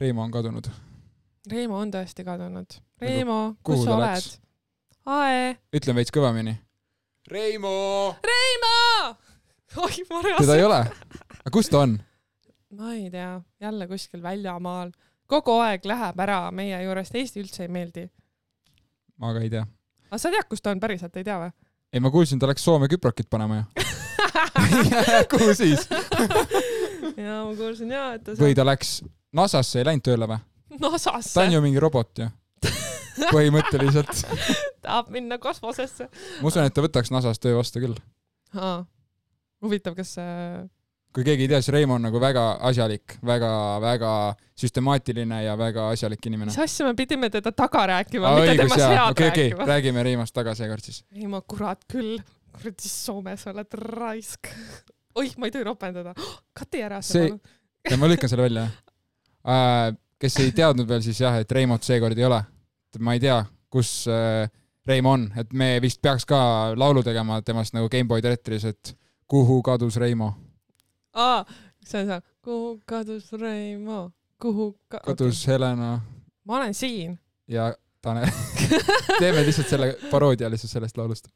Reimo on kadunud . Reemo on tõesti kadunud . Reemo , kuhu kus sa ta oled läks? ? Ae , ütlen veits kõvemini . Reimo ! Reimo ! oi , ma teda reaalselt , ei ole . aga kus ta on ? ma ei tea , jälle kuskil väljamaal . kogu aeg läheb ära meie juurest , Eesti üldse ei meeldi . ma ka ei tea . aga sa tead , kus ta on päriselt , ei tea või ? ei , ma kuulsin , ta läks Soome küprokit panema ju . kuhu siis ? ja ma kuulsin ja , et ta või ta läks NASA-sse , ei läinud tööle või ? ta NASA-sse on ju mingi robot ju . põhimõtteliselt . tahab minna kosmosesse . ma usun , et ta võtaks NASA-s töö vastu küll . huvitav , kas äh, kui keegi ei tea , siis Reimo on nagu väga asjalik väga, , väga-väga süstemaatiline ja väga asjalik inimene mis . asja me pidime teda taga rääkima , Noh. Aa, mitte temast head okei , okei , rääkima . räägime Reimost taga seekord siis . ei ma kurat küll , kuradi Soomes oled raisk . oih , ma ei tohi ropendada . kati ära See- see palun . ja ma lükkan selle välja , jah . kes ei teadnud veel , siis jah , et Reimot seekord ei ole . ma ei tea , kus äh, Reimo on , et me vist peaks ka laulu tegema temast nagu Gameboy teatris , et kuhu kadus Reimo . aa , see on seal , kuhu kadus Reimo , kuhu ka... kadus Helena okay. . ma olen siin . ja Tanel . teeme lihtsalt selle paroodia lihtsalt sellest laulust .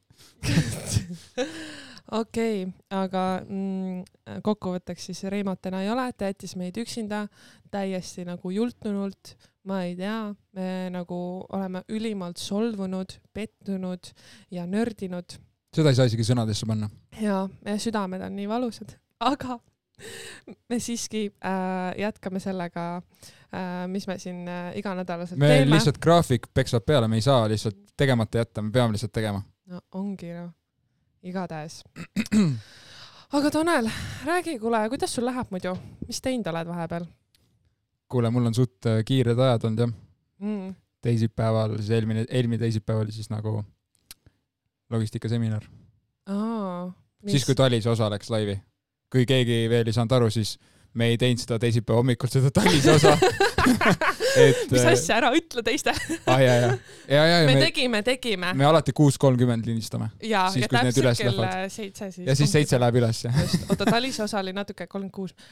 okei , aga mm, kokkuvõtteks siis Reimot täna ei ole , ta jättis meid üksinda täiesti nagu jultunult , ma ei tea , me nagu oleme ülimalt solvunud , pettunud ja nördinud seda ei saa isegi sõnadesse panna . jaa , meie südamed on nii valusad , aga me siiski äh, jätkame sellega äh, , mis me siin äh, iganädalaselt meil teeme . lihtsalt graafik peksab peale , me ei saa lihtsalt tegemata jätta , me peame lihtsalt tegema . no ongi noh , igatahes . aga Tanel , räägi , kuule , kuidas sul läheb muidu , mis teinud oled vahepeal kuule , mul on suht äh, kiired ajad olnud jah . mm. ? teisipäeval , siis eelmine , eelmine teisipäev oli siis nagu logistikaseminar . siis , kui Talise osa läks laivi . kui keegi veel ei saanud aru , siis me ei teinud seda teisipäeva hommikul , seda Talise osa . et- mis asja , ära ütle teistele . ah, . ja , ja , ja , ja , me ja me , tegime , tegime me alati kuus kolmkümmend lindistame ja , siis, ja kui need täpselt üles kell lähevad. äh, seitse siis . ja siis seitse läheb üles ja just , oota Talise osa oli natuke kolmkümmend kuus .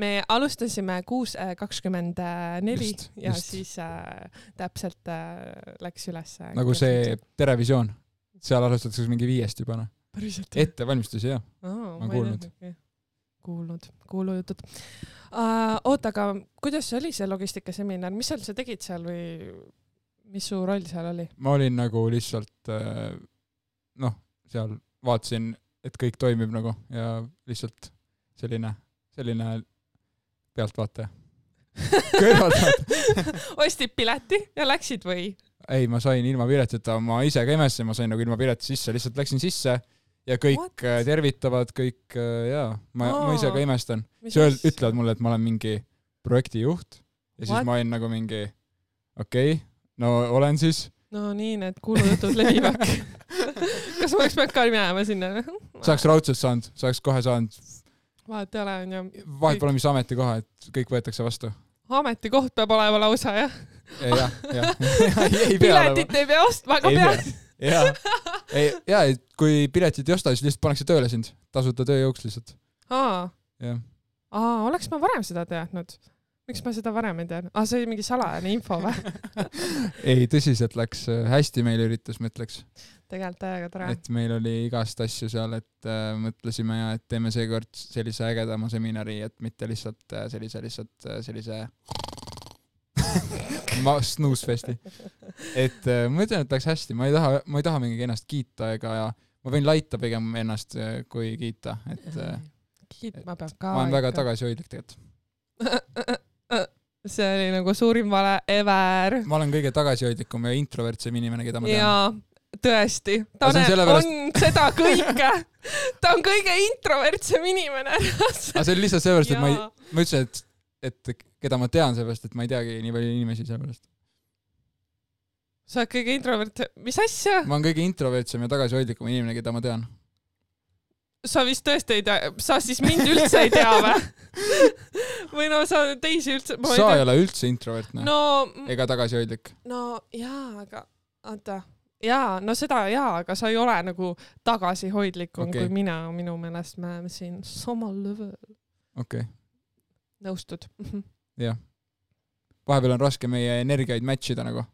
me alustasime kuus äh, kakskümmend neli Just, ja just. just. siis äh, täpselt äh, läks ülesse . nagu see . Terevisioon , seal alustatakse mingi viiest juba noh , päriselt ? ettevalmistusi ja . ma olen ei kuulnud. teadnudki. kuulnud , kuulujutud uh, . oota , aga kuidas see oli , see logistikaseminar , mis sa üldse tegid seal või mis su roll seal oli ? ma olin nagu lihtsalt äh, noh , seal vaatasin , et kõik toimib nagu ja lihtsalt selline , selline pealtvaataja . Kõrvaltvaataja. ostsid pileti ja läksid või ? ei , ma sain ilma piletita , ma ise ka imestasin , ma sain nagu ilma piletita sisse , lihtsalt läksin sisse ja kõik What? What? tervitavad , kõik äh, jaa , ma , ma ise ka Aa. imestan . siis ütlevad mulle , et ma olen mingi projektijuht ja siis What? What? ma olin nagu mingi okei okay, , no olen siis . no nii , need kuulujutud levivad . kas ma oleks pidanud ka minema sinna ? saaks raudselt saanud , saaks kohe saanud vahet ei ole , onju . vahet pole , mis ametikoha , et kõik võetakse vastu . ametikoht peab olema lausa jah . jah , jah ei pea olema . piletit ei pea ostma , aga Ei pead . ja , ei , ja , et kui piletit ei osta , siis lihtsalt pannakse tööle sind , tasuta tööjõuks lihtsalt . aa , jah , aa , oleks ma varem seda teadnud . miks ma seda varem ei teadnud ? aa , see oli mingi salajane info või ? ei tõsiselt läks äh, hästi , meil üritus , ma ütleks , tegelikult täiega tore . et meil oli igast asju seal , et äh, mõtlesime ja et teeme seekord sellise ägedama seminari , et mitte lihtsalt äh, sellise , lihtsalt äh, sellise ma snuusfesti , et äh, ma ütlen , et läks hästi , ma ei taha , ma ei taha mingi ennast kiita ega , ma võin laita pigem ennast äh, kui kiita , et äh, kiitma peab ka . ma olen väga . tagasihoidlik tegelikult . see oli nagu suurim vale ever . ma olen kõige tagasihoidlikum ja introvertsem inimene , keda ma tean . jaa , tõesti . Aga see on Tanel sellepärast- on seda kõike . ta on kõige introvertsem inimene . aga see oli lihtsalt sellepärast , et ma ei , ma ütlesin , et , et keda ma tean , sellepärast et ma ei teagi nii palju inimesi sellepärast . sa oled kõige introvertsem , mis asja ? ma olen kõige introvertsem ja tagasihoidlikum inimene , keda ma tean . sa vist tõesti ei tea , sa siis mind üldse ei tea või ? või no sa teisi üldse , ma ei sa ei tea . ole üldse introvertne no. no , ega tagasihoidlik . no jaa , aga oota , jaa , no seda jaa , aga sa ei ole nagu tagasihoidlikum Okei. okay. kui mina , minu meelest me oleme siin samal level , Mhm. okei okay. , nõustud ? jah . vahepeal on raske meie energiaid match ida nagu .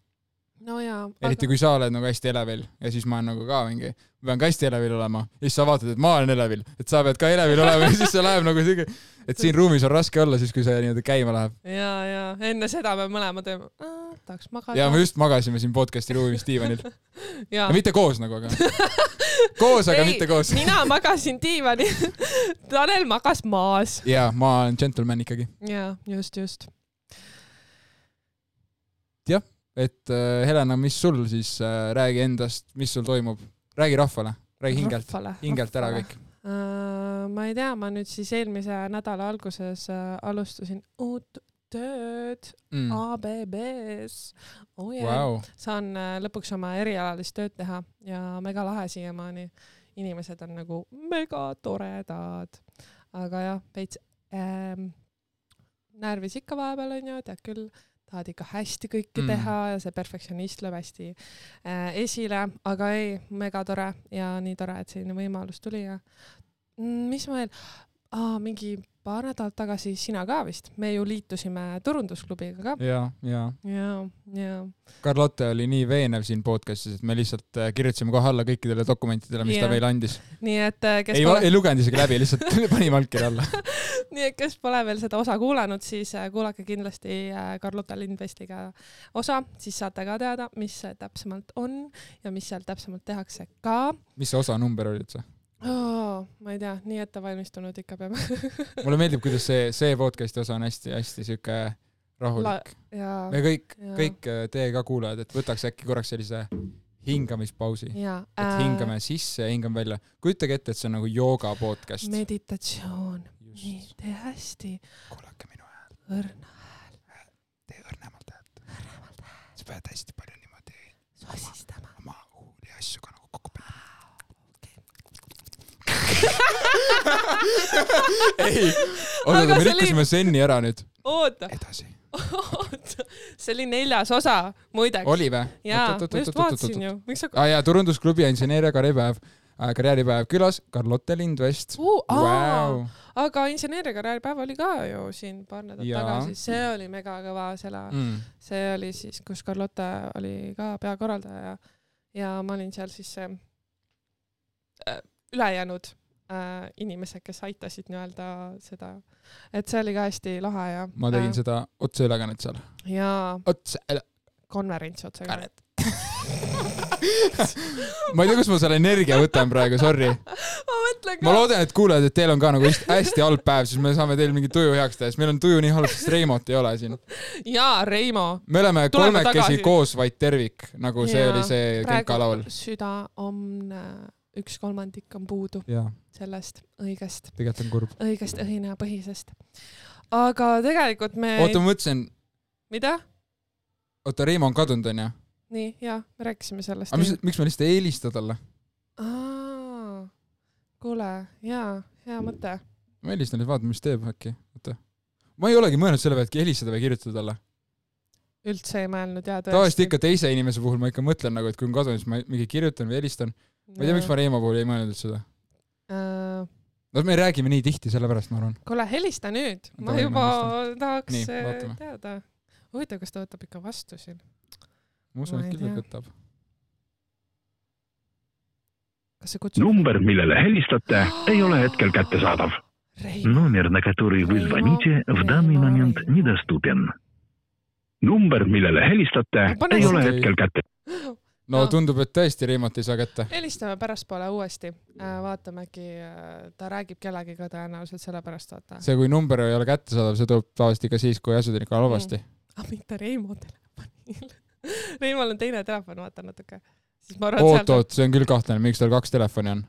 no jaa . eriti kui sa oled nagu hästi elevil ja siis ma olen nagu ka mingi , ma pean ka hästi elevil olema ja siis sa vaatad , et ma olen elevil , et sa pead ka elevil olema ja siis see läheb nagu siuke , et siin ruumis on raske olla siis , kui see nii-öelda käima läheb . ja , ja enne seda me mõlemad olime , tahaks magada . ja me just magasime siin podcast'i ruumis diivanil , ja mitte koos nagu , aga koos , aga Ei. mitte koos . mina magasin diivanil , Tanel magas maas . ja ma olen džentelmen ikkagi , ja just , just . et äh, Helena , mis sul siis äh, , räägi endast , mis sul toimub , räägi rahvale , räägi hingelt , hingelt ära . kõik . Noh, Äh, ma ei tea , ma nüüd siis eelmise nädala alguses äh, alustasin uut tööd Mm. ABB-s oh, . Yeah. Wow. saan äh, lõpuks oma erialalist tööd teha ja mega lahe siiamaani . inimesed on nagu mega toredad . aga jah , veits ähm, närvis ikka vahepeal onju , tead küll , tahad ikka hästi Mm. kõike mm. teha ja see perfektsionist lööb hästi äh, esile , aga ei , mega tore ja nii tore , et selline võimalus tuli ja mm, mis ma veel , mingi paar nädalat tagasi sina ka vist , me ju liitusime turundusklubiga ka . ja , ja jaa , jaa . Carlotte oli nii veenev siin podcast'is , et me lihtsalt äh, kirjutasime kohe alla kõikidele dokumentidele , mis yeah. ta Jah. meile andis . nii et äh, kes ei , pole , ei lugenud isegi läbi , lihtsalt panime allkirja alla . nii et kes pole veel seda osa kuulanud , siis äh, kuulake kindlasti äh, Carlota Lindvestiga osa , siis saate ka teada , mis see täpsemalt on ja mis seal täpsemalt tehakse ka mis see osanumber oli üldse ? oh, . ma ei tea , nii ettevalmistunud ikka peame mulle meeldib , kuidas see , see podcast'i osa on hästi-hästi sihuke La- rahulik . ja , me kõik , jaa. kõik äh, teie ka kuulajad , et võtaks äkki korraks sellise hingamispausi , ja et hingame sisse ja hingame välja . kujutage ette , et see on nagu jooga podcast . meditatsioon , nii , just , tee hästi kuulake minu häält , õrna , tee õrnemalt häält . õrnemalt sa pead hästi palju niimoodi sossistama . oma huuli asju ka nagu kokku panema . ei , oota , aga me rikkusime Seni ära nüüd . oota , edasi . oota , see oli neljas osa , muideks . oli või ? jaa , ma just vaatasin . ju , miks sa aa Ah, jaa , turundusklubi inseneeria karjääripäev , karjääripäev külas , Carlotte Lindvest . uh, . Wow. Wow. aga inseneeriakarjääripäev oli ka ju siin paar nädalat Jaa. tagasi , see oli megakõva selle , Mm. see oli siis , kus Carlotta oli ka peakorraldaja ja , ja ma olin seal siis see äh, ülejäänud äh, inimesed , kes aitasid nii-öelda seda , et see oli ka hästi lahe ja . ma tegin äh. . seda otseülekannet seal . jaa , otseülekannet . konverents otse ka . ma ei tea , kust ma selle energia võtan praegu , sorry . ma mõtlen ma ka . loodan , et kuulajad , et teil on ka nagu hästi- hästi halb päev , siis me saame teil mingi tuju heaks teha , sest meil on tuju nii halb , sest Reimot ei ole siin . jaa , Reimo . me oleme Tuleme kolmekesi tagasi. koos , vaid tervik , nagu see Jaa. oli see Genka laul praegu . süda on , üks kolmandik on puudu jaa , sellest õigest tegelikult on kurb . õigest õhinapõhisest . aga tegelikult me , oota , ma mõtlesin , mida ? oota , Reimo on kadunud , onju . nii , jaa , me rääkisime sellest aga . mis , miks ma lihtsalt ei helista talle ? kuule , jaa , hea mõte . ma helistan , et vaatan , mis teeb äkki , oota . ma ei olegi mõelnud selle peale , et helistada või kirjutada talle . üldse ei mõelnud jaa . tavaliselt ikka teise inimese puhul ma ikka mõtlen nagu , et kui on kadunud , siis ma mingi kirjutan või helistan . ma ei tea , miks ma Reimo puhul ei mõelnud üldse seda . ma . no me räägime nii tihti , sellepärast ma arvan . Äh, kuule , helista nüüd , ma Davai, ma juba tahaks Nii, äh, vaatame. teada . huvitav , kas ta võtab ikka vastu siin ? ma usun , Ma et ei küll ta tea. võtab . kas see kutsub ? Number, millele helistate, ei ole hetkel kättesaadav. Rein , Номер, на который вы Реймо, звоните, в данный Реймо, момент Реймо. недоступен. Number, millele helistate, Pane ei ole siis- hetkel kätte. no Ah. tundub , et tõesti Reimot ei saa kätte . helistame pärastpoole uuesti , vaatame äkki , ta räägib kellegiga tõenäoliselt sellepärast , vaata . see , kui number ei ole kättesaadav , see tuleb tavaliselt ikka siis , kui asjad on ikka halvasti . aga Ah, mitte Reimo telefonil . Reimol on teine telefon , vaata natuke . siis ma arvan , et seal , oot-oot , see on küll kahtlane , miks tal kaks telefoni on .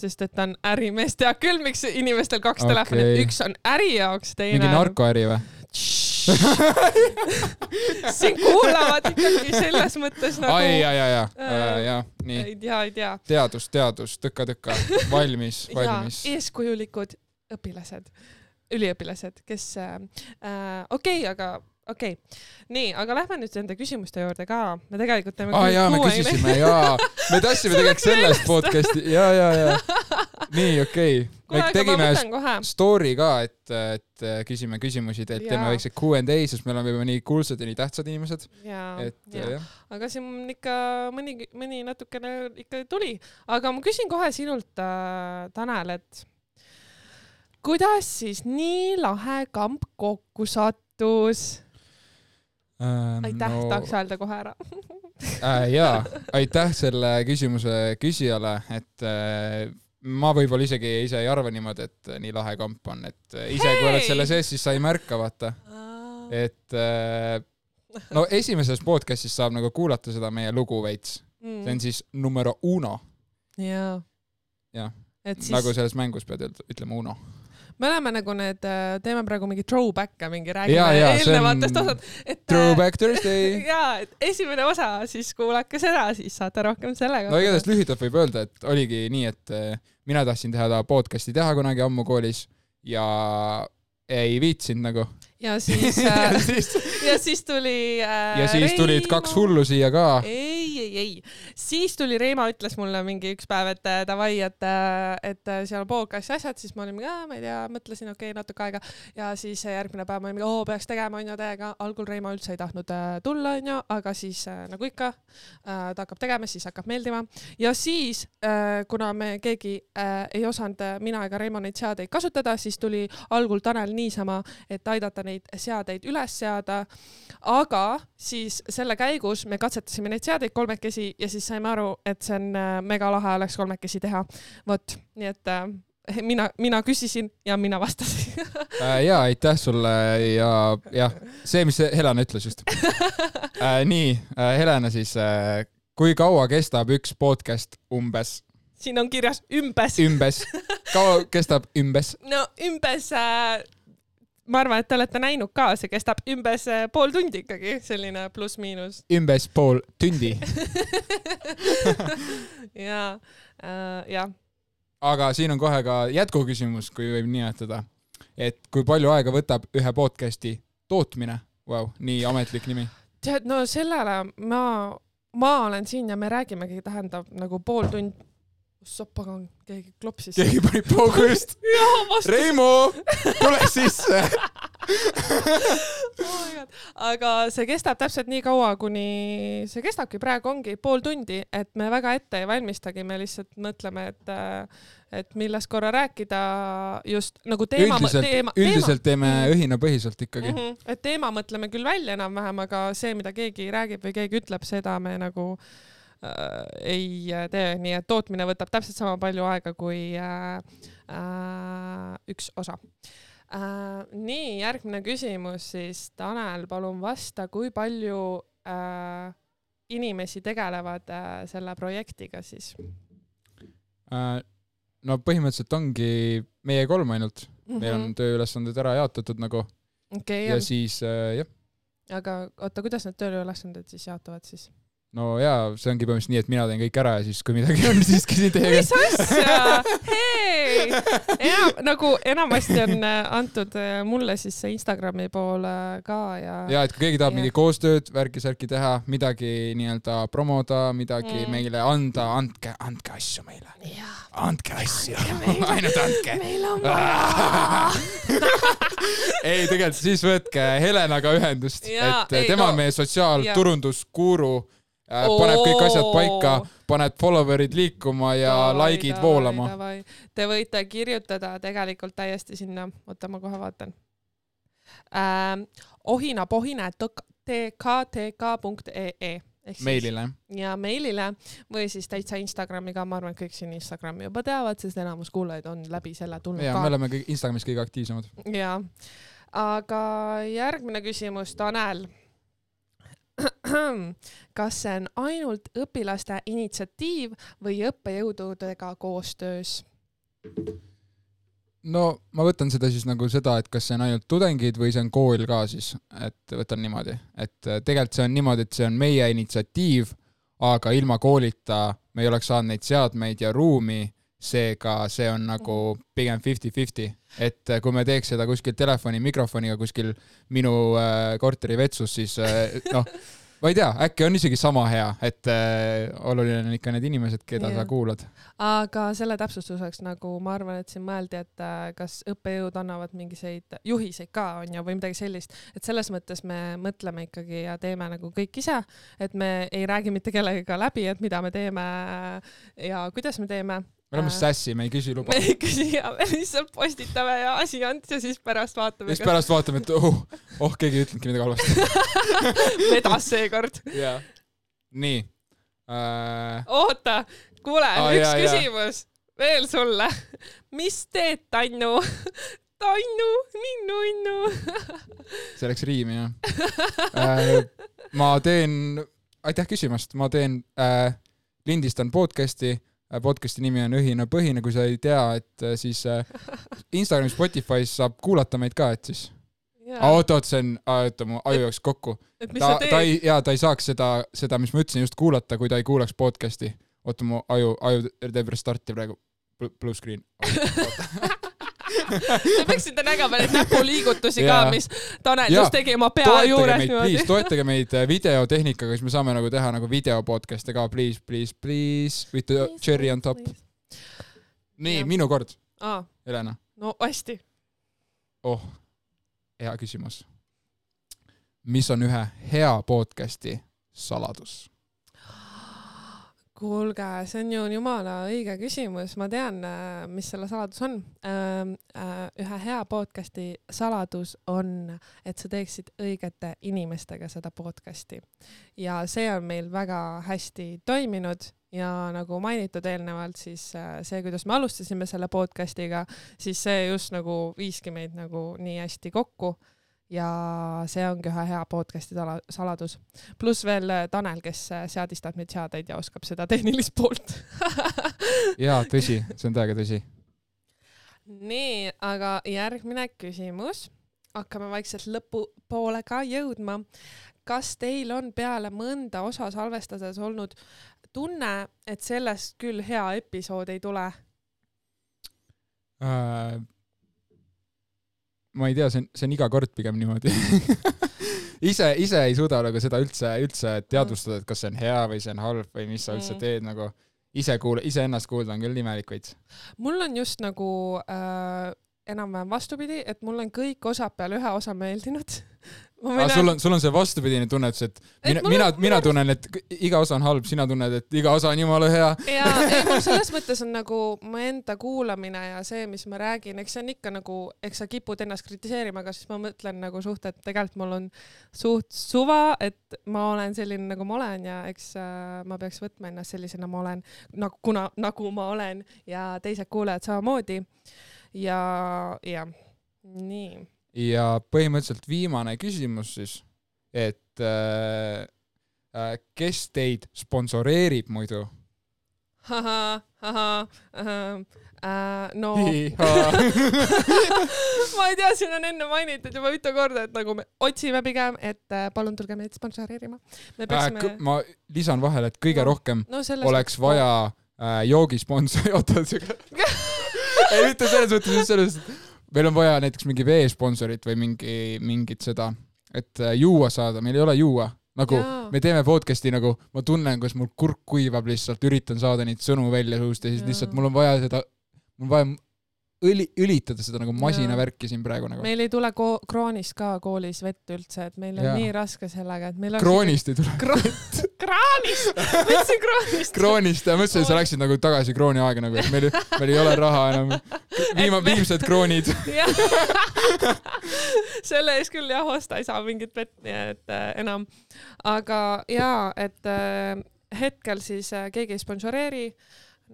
sest et ta on ärimees , teab küll , miks inimestel kaks Okei. okay. telefoni , üks on äri jaoks , teine mingi . narkoäri või ? siin kuulavad ikkagi selles mõttes nagu ai , ei ja , ja , ja , Äh, ja , nii , tea , ei tea . teadus , teadus , tõka-tõka , valmis , ja valmis . eeskujulikud õpilased , üliõpilased , kes äh, , okei okay, , aga okei okay. , nii , aga lähme nüüd nende küsimuste juurde ka , me tegelikult teeme aa kuu- jaa , me kuu aine- küsisime jaa , me tahtsime tegelikult sellest podcast'i , jaa , jaa , jaa . nii okei me kuule , aga ma tegime mõtlen kohe . story ka , et , et äh, küsime küsimusi , teilt Jaa. teeme väikse Q and A , sest me oleme juba nii kuulsad ja nii tähtsad inimesed , jaa , et ja. jaa . jah . aga siin ikka mõni , mõni natukene ikka tuli , aga ma küsin kohe sinult äh, , Tanel , et kuidas siis nii lahe kamp kokku sattus ? aitäh no... , tahaks öelda kohe ära . Ehm, äh, . jaa , aitäh selle küsimuse küsijale , et äh, ma võib-olla isegi ise ei arva niimoodi , et äh, nii lahe kamp on , et äh, ise hey! kui oled Hei! selle sees , siis sa ei märka , vaata , et äh, no esimeses podcast'is saab nagu kuulata seda meie lugu veits , Mm. see on siis numero uno , jaa . Jah. et siis Äh. nagu selles mängus pead üt- ütlema uno . me oleme nagu need , teeme praegu mingi throwback'e mingi Jaa, räägime jaa, see on eelnevatest osad , et . Throwback Thursday . ja , et esimene osa , siis kuulake seda , siis saate rohkem sellega . no igatahes lühidalt võib öelda , et oligi nii , et eh, mina tahtsin teha ta podcast'i teha kunagi ammu koolis ja ei viitsinud nagu . ja siis ja äh, , siis, ja siis tuli äh, . ja siis tulid kaks . hullu siia ka . ei , ei , ei , siis tuli Reimo , ütles mulle mingi üks päev , et äh, davai , et , et äh, seal on podcast ja asjad , siis me olime ka , ma ei tea , mõtlesin , okei okay, , natuke aega ja siis äh, järgmine päev me olime , oo , peaks tegema , onju , täiega . algul Reimo üldse ei tahtnud äh, tulla , onju , aga siis äh, nagu ikka äh, , ta hakkab tegema , siis hakkab meeldima ja siis äh, , kuna me keegi äh, ei osanud , mina ega Reimo neid seadeid kasutada , siis tuli algul Tanel niisama , et aidata neid seadeid üles seada . aga siis selle käigus me katsetasime neid seadeid kolmekesi ja siis saime aru , et see on äh, megalahe oleks kolmekesi teha . vot , nii et äh, mina , mina küsisin ja mina vastasin . ja Äh, aitäh sulle ja jah , see , mis Helena ütles just . nii , Helena siis , kui kaua kestab üks podcast umbes , siin on kirjas ümbes , ümbes , kaua kestab ümbes ? no ümbes äh, ma arvan , et te olete näinud ka , see kestab ümbes äh, pool tundi ikkagi , selline pluss-miinus . ümbes pool tundi , ja äh, , jah , aga siin on kohe ka jätkuküsimus , kui võib nimetada , et kui palju aega võtab ühe podcast'i tootmine wow, , nii ametlik nimi . tead , no sellele ma , ma olen siin ja me räägimegi , tähendab nagu pool tundi . ossa pagan , keegi klopsis . keegi pani paugu just , jaa , vastu . Reimo , tule sisse . oh aga see kestab täpselt nii kaua , kuni see kestabki , praegu ongi pool tundi , et me väga ette ei valmistagi , me lihtsalt mõtleme , et , et millest korra rääkida just nagu teema , teema Mhm. üldiselt ,, teema . üldiselt teeme õhinapõhiselt ikkagi . Mm -hmm. et teema mõtleme küll välja enam-vähem , aga see , mida keegi räägib või keegi ütleb , seda me nagu äh, ei äh, tee , nii et tootmine võtab täpselt sama palju aega kui äh, äh, üks osa äh, . nii , järgmine küsimus siis , Tanel , palun vasta , kui palju äh, inimesi tegelevad äh, selle projektiga siis Äh, no põhimõtteliselt ongi meie kolm ainult , mm ? meil on tööülesanded ära jaotatud nagu okei ja okay, , siis äh, jah , aga oota , kuidas need tööülesanded siis jaotuvad siis ? no jaa , see ongi põhimõtteliselt nii , et mina teen kõik ära ja siis , kui midagi on , siis küsin teie mis käest . asja , hei , enam nagu enamasti on äh, antud äh, mulle siis see Instagrami poole ka ja, ja. . ja et kui keegi tahab Jah. mingi koostööd , värki-särki teha , midagi nii-öelda promoda , midagi Mm. mm. meile anda , andke , andke asju meile , jah , andke asju Andke , meile. ainult andke . meil on vaja . ei , tegelikult siis võtke Helenaga ühendust , Jaa, et ei, tema no- on meie sotsiaalturundusguru , Oo. paneb kõik asjad paika , paneb follower'id liikuma ja like'id voolama .. Te võite kirjutada tegelikult täiesti sinna , oota , ma kohe vaatan ähm, . ohinapohine.tkk.ee ehk siis- meilile . ja meilile või siis täitsa Instagrami ka , ma arvan , et kõik siin Instagrami juba teavad , sest enamus kuulajaid on läbi selle tulnud ja ka me oleme kõik Instagramis kõige aktiivsemad . jaa , aga järgmine küsimus , Tanel . kas see on ainult õpilaste initsiatiiv või õppejõududega koostöös ? no ma võtan seda siis nagu seda , et kas see on ainult tudengid või see on kool ka siis , et võtan niimoodi , et äh, tegelikult see on niimoodi , et see on meie initsiatiiv , aga ilma koolita me ei oleks saanud neid seadmeid ja ruumi , seega see on nagu pigem fifty-fifty , et äh, kui me teeks seda kuskil telefoni mikrofoniga kuskil minu äh, korteri vetsus , siis äh, noh , ma ei tea , äkki on isegi sama hea , et äh, oluline on ikka need inimesed , keda yeah. Jah. sa kuulad . aga selle täpsustuseks nagu ma arvan , et siin mõeldi , et äh, kas õppejõud annavad mingisuguseid juhiseid ka onju või midagi sellist , et selles mõttes me mõtleme ikkagi ja teeme nagu kõik ise , et me ei räägi mitte kellegagi läbi , et mida me teeme ja kuidas me teeme . me oleme sassi , me ei küsi luba me . ei küsi ja me lihtsalt postitame ja asi on ja siis pärast ja vaatame , siis pärast vaatame , et oh , oh , keegi ei ütelnudki midagi halvasti . kas vedas seekord . jaa . nii äh, . oota , kuule Aa, oh, , üks jaa, ja, jaa. küsimus ja. veel sulle . mis teed , Tannu ? Tannu , ninnu-innu . see läks riimi , jah äh, . ma teen , aitäh küsimast , ma teen äh, , lindistan podcast'i , podcast'i nimi on Ühine põhine , kui sa ei tea , et äh, siis äh, Instagramis , Spotify's saab kuulata meid ka , et siis . oota , oota , see on , oota , mu aju jooksis kokku . et mis ta sa , teed ta ? ei , jaa , ta ei saaks seda , seda , mis ma ütlesin just kuulata , kui ta ei kuulaks podcast'i . oota , mu aju , aju teeb restarti praegu . Blue screen . Te peaksite nägema neid näpuliigutusi ka Jaa. , mis Tanel Jaa. just tegi oma pea toetage juures meid , please , niimoodi . toetage meid äh, videotehnikaga , siis me saame nagu teha nagu video podcast'e ka , please , please , please , with the cherry on top . nii Jah. , minu kord , aa , Helena . no hästi . oh , hea küsimus . mis on ühe hea podcast'i saladus ? kuulge , see on ju jumala õige küsimus , ma tean , mis selle saladus on . ühe hea podcast'i saladus on , et sa teeksid õigete inimestega seda podcast'i ja see on meil väga hästi toiminud ja nagu mainitud eelnevalt , siis äh, see , kuidas me alustasime selle podcast'iga , siis see just nagu viiski meid nagu nii hästi kokku ja see ongi ühe hea podcast'i sala- , saladus . pluss veel äh, Tanel , kes äh, seadistab neid seadeid ja oskab seda tehnilist poolt . jaa , tõsi , see on täiega tõsi . nii , aga järgmine küsimus . hakkame vaikselt lõpupoole ka jõudma . kas teil on peale mõnda osa salvestades olnud tunne , et sellest küll hea episood ei tule ? ma Äh, ei tea , see on , see on iga kord pigem niimoodi . ise , ise ei suuda nagu seda üldse , üldse teadvustada , et kas see on hea või see on halb või mis sa üldse Mm. teed nagu ise kuula , iseennast kuulda on küll imelik veits . mul on just nagu äh, enam-vähem vastupidi , et mul on kõik osad peale ühe osa meeldinud . aga sul on , sul on see vastupidine tunnetus , et mina , mina , mina tunnen , et k- iga osa on halb , sina tunned , et iga osa on jumala hea . ja ei mul selles mõttes on nagu mu enda kuulamine ja see , mis ma räägin , eks see on ikka nagu , eks sa kipud ennast kritiseerima , aga siis ma mõtlen nagu suht , et tegelikult mul on suht suva , et ma olen selline , nagu ma olen ja eks äh, ma peaks võtma ennast sellisena ma olen , nagu kuna , nagu ma olen ja teised kuulajad samamoodi . ja , jah , nii . ja põhimõtteliselt viimane küsimus siis , et äh, äh, kes teid sponsoreerib muidu ? ahah , ahah , ahah , no ma ei tea , siin on enne mainitud juba mitu korda , et nagu me otsime pigem , et äh, palun tulge meid sponsoreerima . Äh, me peaksime , ma lisan vahele , et kõige No. rohkem no selles oleks vaja äh, joogisponsori , oota , ei mitte selles mõttes , just selles , et meil on vaja näiteks mingi veesponsorit või mingi , mingit seda , et äh, juua saada , meil ei ole juua , nagu ja. Jaa. me teeme podcast'i nagu , ma tunnen , kuidas mul kurk kuivab lihtsalt , üritan saada neid sõnu välja suust ja siis Jaa. ja. lihtsalt mul on vaja seda , mul on vaja õli , ülitada seda nagu masinavärki siin praegu nagu . meil ei tule ko- , kroonist ka koolis vett üldse , et meil on Jaa. nii raske sellega , et meil on . kroonist ei tule , kroon , kraanist , võtsin kroonist . kroonist , ma mõtlesin , et sa läksid nagu tagasi krooni aega nagu , et meil , meil ei ole raha enam . viima- , viimsed kroonid . jah selle eest küll jah , osta ei saa mingit vett , nii et äh, enam . aga jaa , et äh, hetkel siis äh, keegi ei sponsoreeri .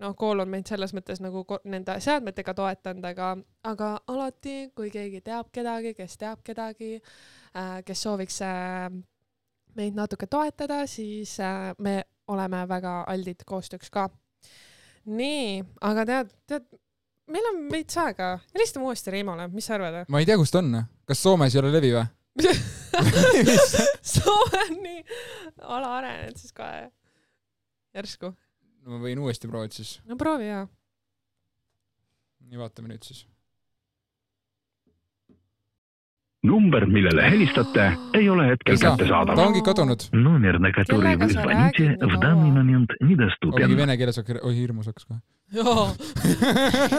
noh , kool on meid selles mõttes nagu ko- nende seadmetega toetanud , aga , aga alati , kui keegi teab kedagi , kes teab kedagi äh, , kes sooviks äh, meid natuke toetada , siis äh, me oleme väga aldid koostööks ka . nii , aga tead , tead , meil on veits aega , helistame uuesti Reimole , mis sa arvad ? ma ei tea , kus ta on , kas Soomes ei ole levi või ? Soome on nii alaarenenud siis kohe . järsku . no ma võin uuesti proovida siis . no proovi jaa . nii , vaatame nüüd siis . number , millele helistate , ei ole hetkel ei saa , kättesaadav ta . ongi kadunud . Номер , на который Kellega вы sa звоните, räägid nii в данный kaua? момент oligi недоступен . vene keeles , oi hirmus hakkas kohe . jaa .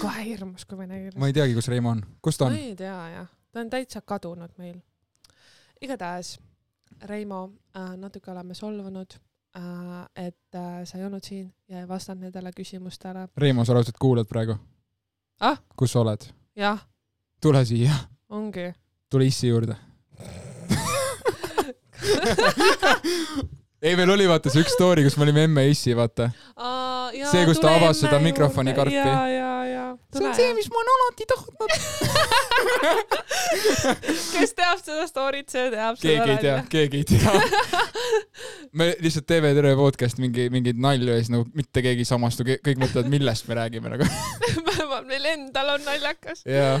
kohe hirmus , kui vene keeles . ma ei teagi , kus Reimo on , kus ta ma on ? ei tea jah , ta on täitsa kadunud meil . igatahes , Reimo äh, , natuke oleme solvunud äh, , et äh, sa ei olnud siin ja ei vastanud nendele küsimustele . Reimo , sa raudselt kuulad praegu Ah? ? kus sa oled ? jah , tule siia , ongi . tule issi juurde . ei , meil oli vaata see üks story , kus me olime emme ja issi , vaata . See, kus ta avas seda mikrofoni karpi. ja , ja , ja . mis ma olen alati tahtnud . kes teab seda story't , see teab keegi ei tea , keegi ei tea . me lihtsalt teeme terve podcast mingi , mingeid nalju ja siis nagu mitte keegi ei samastu , kõik mõtlevad , millest me räägime nagu . vähemalt meil endal on naljakas . jaa ,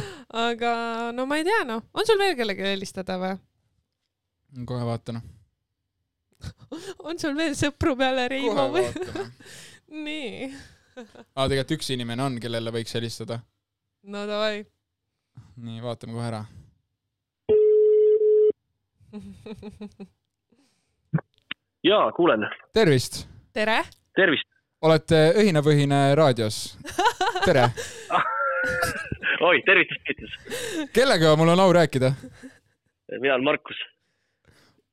aga no ma ei tea , noh , on sul veel kellelegi helistada või ? kohe vaatan . on sul veel sõpru peale Reimo või ? vaatan . nii , aa , tegelikult üks inimene on , kellele võiks helistada . no davai . nii , vaatame kohe ära . jaa , kuulen . tervist , tere . tervist . olete Õhinapõhine raadios . tere , oi , tervitus , tervitus . kellega mul on au rääkida ? mina olen Markus .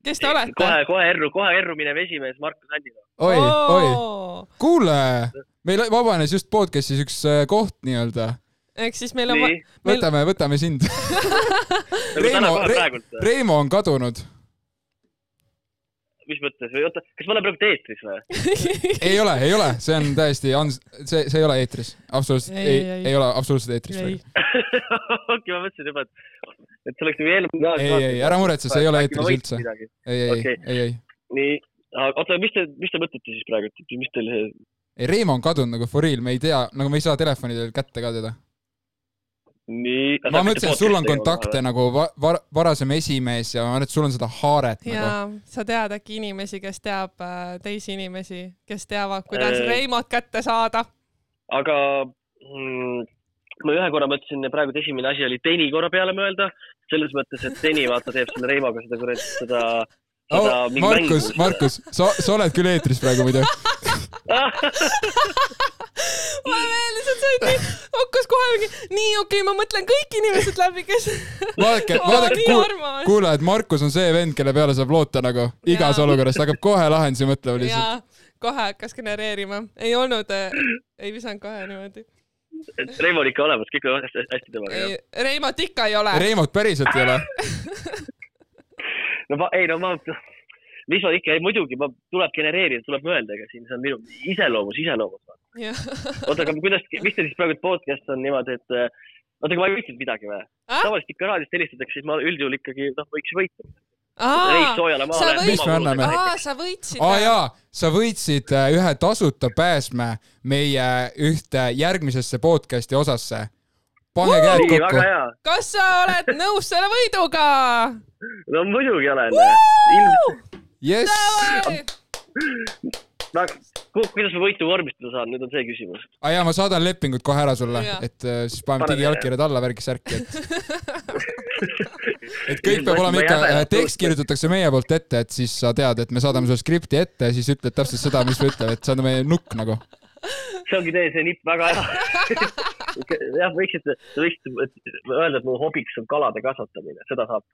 kes te olete ? kohe , kohe erru , kohe erru minev esimees Markus Andina . oi , oi , kuule , meil vabanes just podcast'is üks äh, koht nii-öelda . ehk siis meil on , nii , Meil- võtame , võtame sind . nagu täna Reimo- kohe Re- praegult . Reimo on kadunud . mis mõttes või oota , kas ma olen praegu eetris või ? ei ole , ei ole , see on täiesti ans- , see , see ei ole eetris , absoluutselt Ei, ei , ei, ei, ei. ei ole absoluutselt eetris ei praegu ., okei , ma mõtlesin juba , et , et see oleks nagu eelmine ei , ei , ära muretse , see ei ole eetris üldse . midagi . ei , ei , ei Okei. , ei , ei . nii , aga oota , mis te , mis te mõtlete siis praegu , et mis teil see , ei , Reimo on kadunud nagu for real , me ei tea , nagu me ei saa telefoni teel kätte ka teda . nii . äh, ma mõtlesin , et sul on kontakte . nagu va- , var- , varasem esimees ja ma arvan , et sul on seda haaret ja nagu . sa tead äkki inimesi , kes teab äh, teisi inimesi , kes teavad , kuidas Ei. Reimot kätte saada . aga mm, ma ühe korra mõtlesin , praegu et esimene asi oli teni korra peale mõelda , selles mõttes , et teni vaata teeb selle Reimoga seda kuradi , seda , seda Oh, mingi Markus , mängu . Markus , sa , sa oled küll eetris praegu muidu . mulle meeldis , et sa olid nii , hakkas kohe mingi , nii okei okay, , ma mõtlen kõik inimesed läbi , kes . vaadake , vaadake , nii kuule , armas . kuule , et Markus on see vend , kelle peale saab loota nagu igas Jaa. olukorras , ta hakkab kohe lahendusi mõtlema ja lihtsalt . kohe hakkas genereerima , ei olnud , ei visanud kohe niimoodi . Reimo on ikka olemas , kõik on hästi, hästi temaga . Reimot ikka ei ole . Reimot päriselt ei ole no ma , ei no ma , mis ma ikka , ei muidugi , ma , tuleb genereerida , tuleb mõelda , ega siin see on minu iseloomus , iseloomus . oota , aga kuidas , mis teil siis praegu podcast on niimoodi , et äh, oota , aga ma ei võitnud midagi või ? Ah? tavaliselt ikka raadiost helistatakse , siis ma üldjuhul ikkagi noh , võiks võita . reis aa , soojale sa maale . võid- Mis me anname? sa võitsid . aa jaa , sa võitsid äh, ühe tasuta pääsme meie äh, ühte järgmisesse podcast'i osasse . pange käed nii , väga kokku . hea . kas sa oled nõus selle võiduga ? no muidugi olen . ilmselt , jess . kuidas ma võitu vormistada saan , nüüd on see küsimus . aa jaa , ma saadan lepingud kohe ära sulle Jaa. , et äh, siis paneme Pane digiallkirjad alla , värgi särki , et et kõik peab olema ikka , tekst . kirjutatakse meie poolt ette , et siis sa tead , et me saadame sulle skripti ette ja siis ütled täpselt seda , mis me ütleme , et see on meie nukk nagu . see ongi teie see nipp , väga hea . jah , võiksite , võiksite öelda , et mu hobiks on kalade kasvatamine , seda saab .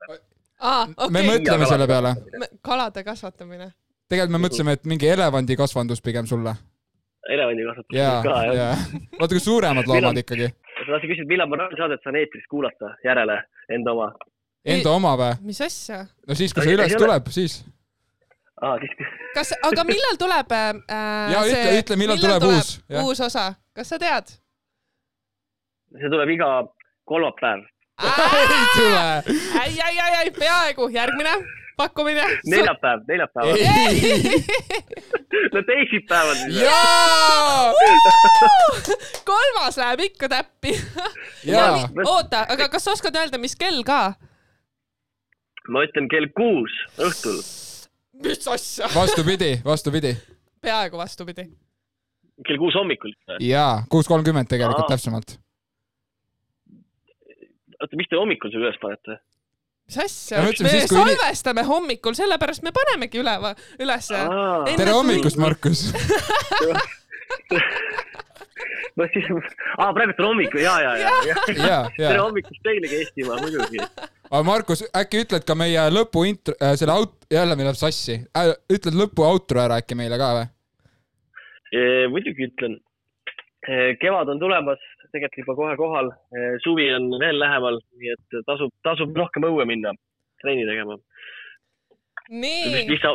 aa , me okei , mõtleme selle peale . kalade kasvatamine . tegelikult me mõtlesime , et mingi elevandikasvandus pigem sulle . elevandi kasvatamine jaa , ka , jah . jaa . vaata , kui suuremad loomad ikkagi . sa küsisid , millal ma raadiosaadet saan eetris kuulata järele enda oma . Enda oma või ? mis asja ? no siis , kui see üles Ei ole. tuleb , siis . aa , siis , kas , aga millal tuleb äh, Jaa, ütle- ütle, millal tuleb uus, jah. uus osa , kas sa tead ? see tuleb iga kolmapäev . ei tule . ai , ai , ai , ai , peaaegu , järgmine pakkumine . neljapäev , neljapäev . no teisipäev on siis . jaa , kolmas läheb ikka täppi . jaa . oota , aga kas sa oskad öelda , mis kell ka ? ma ütlen kell kuus õhtul . mis asja ? vastupidi , vastupidi . peaaegu vastupidi . kell kuus hommikul . jaa , kuus kolmkümmend tegelikult Aa. täpsemalt . oota , mis te hommikul selle üles panete ? mis asja Ja , me me ütleme siis, kui üli- salvestame hommikul , sellepärast me panemegi üleva , ülesse . noh , tere hommikust , Markus . siis , aa , praegu on hommik , ja , ja , ja, ja. . ja , tere ja . hommikust teilegi , Eestimaa , muidugi . aga Markus , äkki ütled ka meie lõpu int- , selle aut- , jälle meil läheb sassi . ütled lõpu outro ära äkki meile ka või ? muidugi ütlen . kevad on tulemas , tegelikult juba kohe kohal . suvi on veel lähemal , nii et tasub , tasub rohkem õue minna , trenni tegema . nii , mis sa ,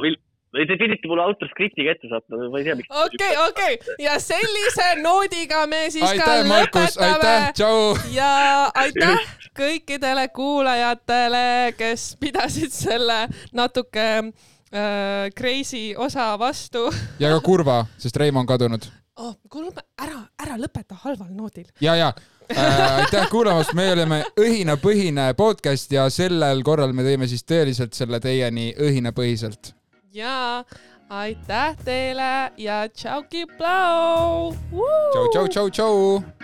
te pidite mulle autoskripti kätte saatma , ma ei tea , miks . okei , okei ja sellise noodiga me siis aitäh , ka Markus , aitäh lõpetame , tšau . ja aitäh kõikidele kuulajatele , kes pidasid selle natuke äh, crazy osa vastu ja ka kurva , sest Reimo on kadunud . oh, . kuule , ära , ära lõpeta halval noodil . ja , ja äh, aitäh kuulamast , me oleme õhinapõhine podcast ja sellel korral me teeme siis tõeliselt selle teieni õhinapõhiselt . ja aitäh teile ja tšauki plau . tšau , tšau , tšau , tšau .